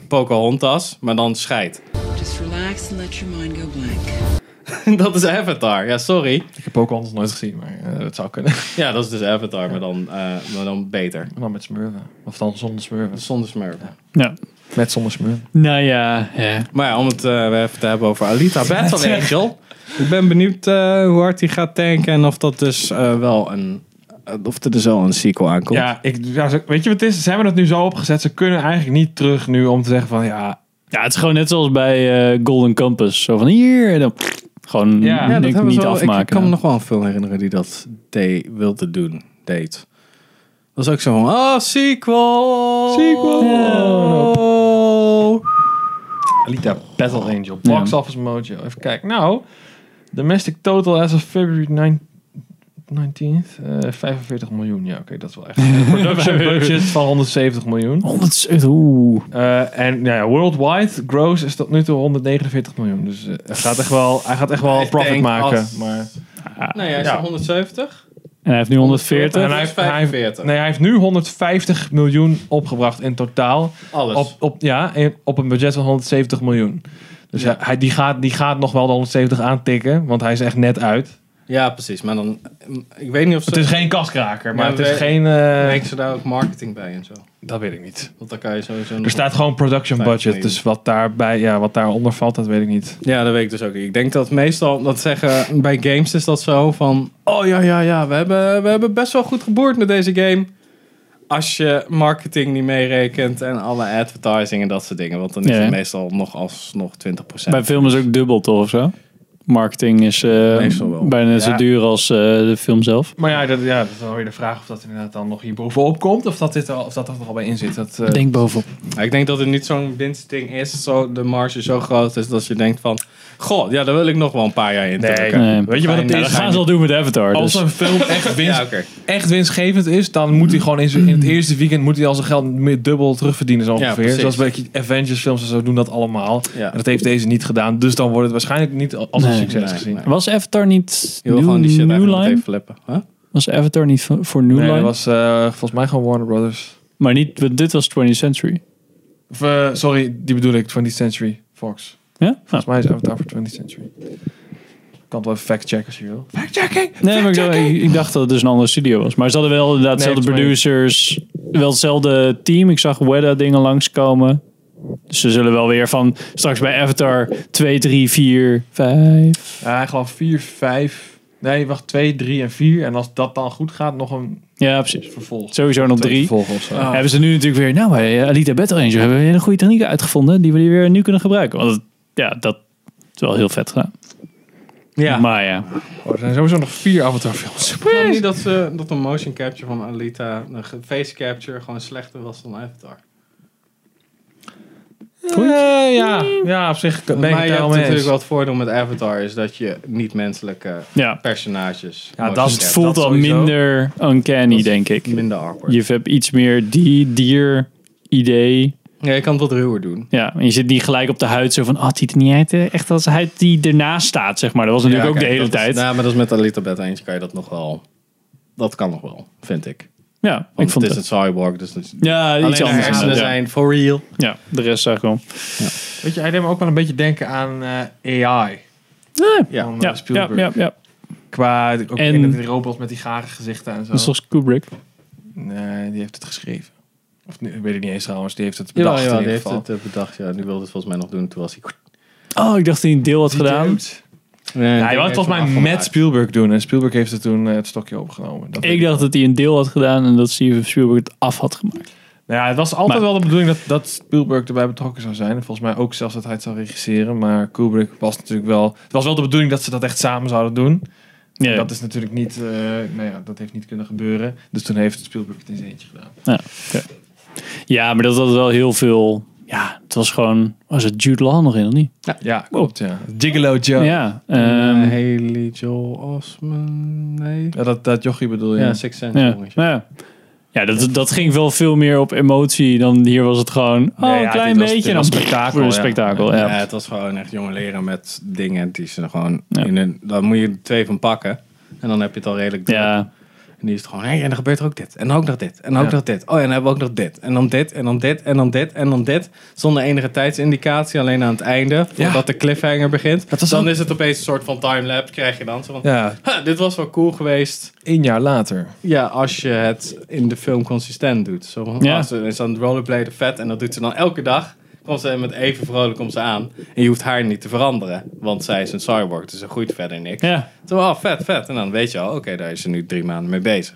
Speaker 3: Pocahontas, maar dan scheid. (laughs)
Speaker 8: Just relax and let your mind go blank.
Speaker 3: dat is Avatar. Ja, sorry.
Speaker 2: Ik heb ook anders nooit gezien, maar eh, dat zou kunnen.
Speaker 3: Ja, dat is dus Avatar, maar dan, eh, maar dan beter.
Speaker 2: En dan Nou, met smurven. Of dan zonder smurven.
Speaker 3: Zonder smurfen.
Speaker 1: Ja.
Speaker 2: Met zonder smurven.
Speaker 1: Nou ja, ja.
Speaker 3: Maar ja, om het eh, weer even te hebben over (laughs) Alita Battle Angel. Ik ben benieuwd eh, hoe hard hij gaat tanken en of dat dus eh, wel een... eh, of er dus wel een sequel aankomt.
Speaker 2: Ja, ik, ja, ze- weet je wat het is? Ze hebben het nu zo opgezet. Ze kunnen eigenlijk niet terug nu om te zeggen van ja,
Speaker 1: ja, het is gewoon net zoals bij eh, Golden Compass. Zo van hier en dan gewoon
Speaker 2: Ja,
Speaker 3: Ja, dat
Speaker 1: niks
Speaker 3: hebben ze
Speaker 1: niet
Speaker 3: wel-
Speaker 1: afmaken.
Speaker 3: Ik kan me nog wel een film herinneren die dat deed, wilde doen, deed. Dat was ook zo van, ah, sequel!
Speaker 2: Sequel!
Speaker 3: Ja.
Speaker 2: Alita Battle Angel. Box
Speaker 1: Ja.
Speaker 2: Office Mojo. Even kijken. Nou, domestic total as of February 9 19th. eh, 45 miljoen. Ja, oké, dat is wel echt. (laughs) Production budget van 170 miljoen.
Speaker 1: 107, oeh.
Speaker 2: Eh, en nou ja, worldwide gross is tot nu toe 149 miljoen. Dus eh, hij gaat echt wel, hij gaat echt wel
Speaker 3: Ik
Speaker 2: profit
Speaker 3: denk
Speaker 2: maken.
Speaker 3: als-
Speaker 2: Maar,
Speaker 3: Nou ja, is
Speaker 2: Ja.
Speaker 3: 170?
Speaker 1: En hij heeft nu 140.
Speaker 2: en hij, heeft, hij, heeft,
Speaker 3: 45.
Speaker 2: nee, hij heeft nu 150 miljoen opgebracht in totaal.
Speaker 3: Alles.
Speaker 2: Op, op, ja, in- op een budget van 170 miljoen. Dus
Speaker 3: Ja.
Speaker 2: hij, die, gaat, die gaat nog wel de 170 aantikken, want hij is echt net uit.
Speaker 3: Ja, precies. Maar dan, ik weet niet of ze...
Speaker 2: Het is geen kaskraker, maar
Speaker 3: Ja,
Speaker 2: het is
Speaker 3: we-
Speaker 2: geen... eh,
Speaker 3: Denken ze daar ook marketing bij en zo?
Speaker 2: dat weet ik niet.
Speaker 3: Want dan kan je sowieso...
Speaker 2: Er
Speaker 3: nog-
Speaker 2: staat gewoon production
Speaker 3: Vijf
Speaker 2: budget,
Speaker 3: miljoen.
Speaker 2: dus wat, daarbij, ja, wat daaronder valt, dat weet ik niet.
Speaker 3: Ja, dat weet ik dus ook niet. Ik denk dat meestal, dat zeggen bij games is dat zo van... Oh ja, ja, ja, we hebben, we hebben best wel goed geboord met deze game. Als je marketing niet meerekent en alle advertising en dat soort dingen. Want dan is
Speaker 1: Ja.
Speaker 3: het meestal nog alsnog 20%.
Speaker 1: Bij film is ook dubbel toch of zo? Marketing is eh,
Speaker 3: Meestal wel.
Speaker 1: bijna zo
Speaker 2: Ja.
Speaker 1: duur als eh, de film zelf.
Speaker 2: Maar ja, dat, ja, dat is dan weer de vraag of dat inderdaad dan nog hier bovenop komt, of dat, dit er al, of dat er nog al bij in zit. Dat, eh,
Speaker 1: Denk bovenop.
Speaker 3: Ja, ik denk dat het niet zo'n winstding is. Zo, de marge zo groot is dat je denkt van... Goh, ja, daar wil ik nog wel een paar jaar in
Speaker 2: Nee.
Speaker 3: trekken.
Speaker 1: Nee.
Speaker 2: Weet je wat het
Speaker 1: Ja,
Speaker 2: is?
Speaker 1: dat gaan ze al doen met Avatar.
Speaker 2: Als
Speaker 1: dus.
Speaker 2: een film echt winst,
Speaker 3: (laughs) Ja, oké.
Speaker 2: echt winstgevend is, dan moet hij gewoon in, zijn- in het eerste weekend moet hij al zijn geld meer dubbel terugverdienen. Zo
Speaker 3: Ja,
Speaker 2: ongeveer.
Speaker 3: precies.
Speaker 2: Zoals bij Avengers films en zo doen dat allemaal.
Speaker 3: Ja.
Speaker 2: En dat heeft deze niet gedaan. Dus dan wordt het waarschijnlijk niet als een
Speaker 1: Nee,
Speaker 2: succes
Speaker 3: nee,
Speaker 2: gezien.
Speaker 3: nee.
Speaker 1: Was Avatar niet
Speaker 3: Je wil
Speaker 1: New,
Speaker 3: gewoon die shit
Speaker 1: New
Speaker 3: eigenlijk meteen
Speaker 1: Line?
Speaker 3: flippen. Huh?
Speaker 1: Was Avatar niet voor voor New
Speaker 2: Nee, dat
Speaker 1: Line?
Speaker 2: was eh, volgens mij gewoon Warner Brothers.
Speaker 1: Maar niet, want dit was 20th Century.
Speaker 2: Of, eh, sorry, die bedoel ik, 20th Century Fox.
Speaker 1: Ja?
Speaker 2: Volgens mij is Avatar voor 20th Century. Ik kan het wel even fact-checken als je wil.
Speaker 1: Nee, maar ik dacht, ik, ik dacht dat het dus een andere studio was. Maar ze hadden wel inderdaad
Speaker 2: Nee,
Speaker 1: dezelfde
Speaker 2: volgens
Speaker 1: producers, wel hetzelfde team. Ik zag Wedda dingen langskomen. Dus ze zullen wel weer van straks bij Avatar 2, 3, 4, 5.
Speaker 2: Ja, ik geloof 4, 5... Nee, wacht, 2, 3 en 4. En als dat dan goed gaat, nog een
Speaker 1: Ja, precies.
Speaker 2: vervolg.
Speaker 1: Sowieso nog
Speaker 2: Twee
Speaker 1: drie.
Speaker 2: vervolgen of zo.
Speaker 3: Ah. Oh.
Speaker 1: Ja. Hebben ze nu natuurlijk weer, nou bij eh, Alita Battle Angel hebben we een hele goede techniek uitgevonden die we die weer nu kunnen gebruiken. Want het ja, dat is wel heel vet gedaan.
Speaker 3: Ja.
Speaker 1: Maar ja,
Speaker 2: Oh, er zijn sowieso nog vier
Speaker 3: (laughs)
Speaker 2: Avatar-films.
Speaker 3: Ik geloof niet dat, ze, dat een motion capture van Alita, een ge- face capture, gewoon slechter was dan Avatar.
Speaker 2: Eh, ja. ja, op zich ben ik
Speaker 3: maar
Speaker 2: het daar
Speaker 3: je hebt
Speaker 2: wel mee
Speaker 3: natuurlijk
Speaker 2: eens.
Speaker 3: wel het voordeel met Avatar, is dat je niet-menselijke
Speaker 1: ja. Dus
Speaker 3: personages
Speaker 2: Ja,
Speaker 3: motion
Speaker 2: dat is
Speaker 1: Het
Speaker 2: Ja,
Speaker 3: capture-
Speaker 1: voelt al
Speaker 2: sowieso.
Speaker 1: minder uncanny,
Speaker 3: is
Speaker 1: denk ik.
Speaker 3: minder awkward.
Speaker 1: Je hebt iets meer die dier-idee.
Speaker 3: Ja, je kan het wat ruwer doen.
Speaker 1: Ja, en je zit niet gelijk op de huid zo van, ah, het ziet er niet uit. eh, Echt als de huid die ernaast staat, zeg maar. Dat was natuurlijk
Speaker 3: Ja,
Speaker 1: ook
Speaker 3: kijk,
Speaker 1: de hele
Speaker 3: dat is-
Speaker 1: tijd.
Speaker 3: nou, maar dat is met Alita Bad eens kan je dat nog wel... Dat kan nog wel, vind ik.
Speaker 1: ja,
Speaker 3: Want
Speaker 1: ik vond
Speaker 3: het
Speaker 1: het.
Speaker 3: is een cyborg, dus dat is...
Speaker 1: ja,
Speaker 3: Alleen
Speaker 1: iets
Speaker 3: de
Speaker 1: anders.
Speaker 3: hersenen
Speaker 1: inderdaad. Ja.
Speaker 3: zijn for real.
Speaker 1: ja, de rest zag ik wel.
Speaker 2: Weet je, hij deed me ook wel een beetje denken aan eh, AI.
Speaker 3: Ja.
Speaker 2: Van, eh,
Speaker 1: Ja, ja,
Speaker 2: Spielberg.
Speaker 1: ja, ja.
Speaker 2: Qua ook
Speaker 1: En-
Speaker 2: en, die robots met die gare gezichten en zo.
Speaker 1: Dat is toch Kubrick?
Speaker 2: Nee, die heeft het geschreven. Of nee, ik weet het niet eens trouwens, die heeft het
Speaker 3: Ja,
Speaker 2: bedacht
Speaker 3: ja,
Speaker 2: in
Speaker 3: die
Speaker 2: ieder
Speaker 3: heeft
Speaker 2: geval.
Speaker 3: het eh, bedacht. Ja, nu wilde het volgens mij nog doen. Toen was hij...
Speaker 1: Oh, ik dacht dat hij een deel had
Speaker 2: Die
Speaker 1: gedaan.
Speaker 2: dude.
Speaker 3: Nee,
Speaker 2: Ja, hij wou het volgens mij met Spielberg doen en Spielberg heeft het toen eh, het stokje opgenomen. Dat weet
Speaker 1: Ik dacht dat hij een deel had gedaan en dat Steven Spielberg het af had gemaakt.
Speaker 2: Nou ja, het was altijd
Speaker 1: Maar-
Speaker 2: wel de bedoeling dat, dat Spielberg erbij betrokken zou zijn. En volgens mij ook zelfs dat hij het zou regisseren. Maar Kubrick was natuurlijk wel... Het was wel de bedoeling dat ze dat echt samen zouden doen.
Speaker 1: Ja,
Speaker 2: Dat is natuurlijk niet... eh, nou ja, dat heeft niet kunnen gebeuren. Dus toen heeft Spielberg het in zijn eentje gedaan.
Speaker 1: ja maar dat had wel heel veel... Ja, het was gewoon... Was het Jude Law nog in of niet?
Speaker 2: Ja, klopt, ja. Gigolo Joe. Ja,
Speaker 1: Ja,
Speaker 3: Ehm,
Speaker 1: ehm,
Speaker 3: Haley Joel Osman, nee.
Speaker 2: dat, dat jochie bedoel je.
Speaker 3: Ja, Six Sense
Speaker 1: ja,
Speaker 3: jongetje.
Speaker 1: ja. ja dat, dat ging wel veel meer op emotie dan hier was het gewoon... Oh,
Speaker 2: Nee, ja,
Speaker 1: een
Speaker 2: dit
Speaker 1: klein
Speaker 2: was-
Speaker 1: beetje.
Speaker 2: dit
Speaker 1: en dan
Speaker 2: was spektakel,
Speaker 1: Een
Speaker 2: ja.
Speaker 1: spektakel,
Speaker 3: Ja.
Speaker 1: ja.
Speaker 3: het was gewoon echt jonge leren met dingen die ze gewoon...
Speaker 1: Ja.
Speaker 3: In een, daar moet je er twee van pakken. En dan heb je het al redelijk druk.
Speaker 1: Ja,
Speaker 3: En die is het gewoon, hé, en dan gebeurt er ook dit. En dan ook nog dit. En dan ook
Speaker 2: Ja.
Speaker 3: nog dit. Oh, en dan hebben we ook nog dit. En dan dit, en dan dit, en dan dit, en dan dit. Zonder enige tijdsindicatie, alleen aan het einde. Voordat de cliffhanger begint.
Speaker 2: Dat was
Speaker 3: dan
Speaker 2: ook-
Speaker 3: is het opeens een soort van timelapse, krijg je dan. Zo van,
Speaker 2: Ja,
Speaker 3: "Ha, dit was wel cool geweest.
Speaker 2: één jaar later.
Speaker 3: Ja, als je het in de film consistent doet. Zo, van,
Speaker 1: Ja.
Speaker 3: ah, ze is aan het rollerbladen vet en dat doet ze dan elke dag. Komt ze met even vrolijk om ze aan. En je hoeft haar niet te veranderen. Want zij is een cyborg, dus ze groeit verder niks.
Speaker 1: ja.
Speaker 3: Toen, ah, vet, vet. En dan weet je al, oké, daar is ze nu drie maanden mee bezig.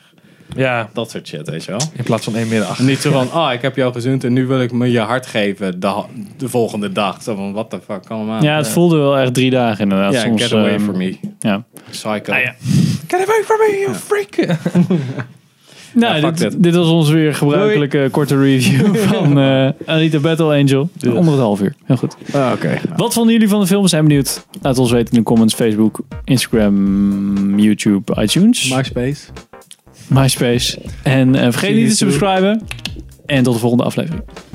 Speaker 2: Ja.
Speaker 3: Dat soort shit, weet je wel.
Speaker 2: In plaats van één middag.
Speaker 3: Niet zo van, ah, ik heb jou gezoend en nu wil ik me je hart geven de, ha- de volgende dag. Zo van, what the fuck, kom maar aan.
Speaker 1: ja, het voelde wel echt drie dagen inderdaad.
Speaker 3: Ja,
Speaker 1: soms,
Speaker 3: get away
Speaker 1: ehm,
Speaker 3: from me.
Speaker 1: Ja.
Speaker 3: Psycho.
Speaker 1: Nou ja.
Speaker 2: Get away from me, you freak!
Speaker 1: Nou,
Speaker 3: fuck
Speaker 1: dit,
Speaker 3: that.
Speaker 1: dit was onze weer gebruikelijke korte review
Speaker 3: (laughs)
Speaker 1: van eh Alita Battle Angel. Onder het half uur. Heel goed.
Speaker 3: Ah, oké.
Speaker 1: Wat vonden jullie van de film? Zijn benieuwd. Laat ons weten in de comments. Facebook, Instagram, YouTube, iTunes,
Speaker 3: MySpace.
Speaker 1: MySpace. En eh, vergeet niet te subscriben. En tot de volgende aflevering.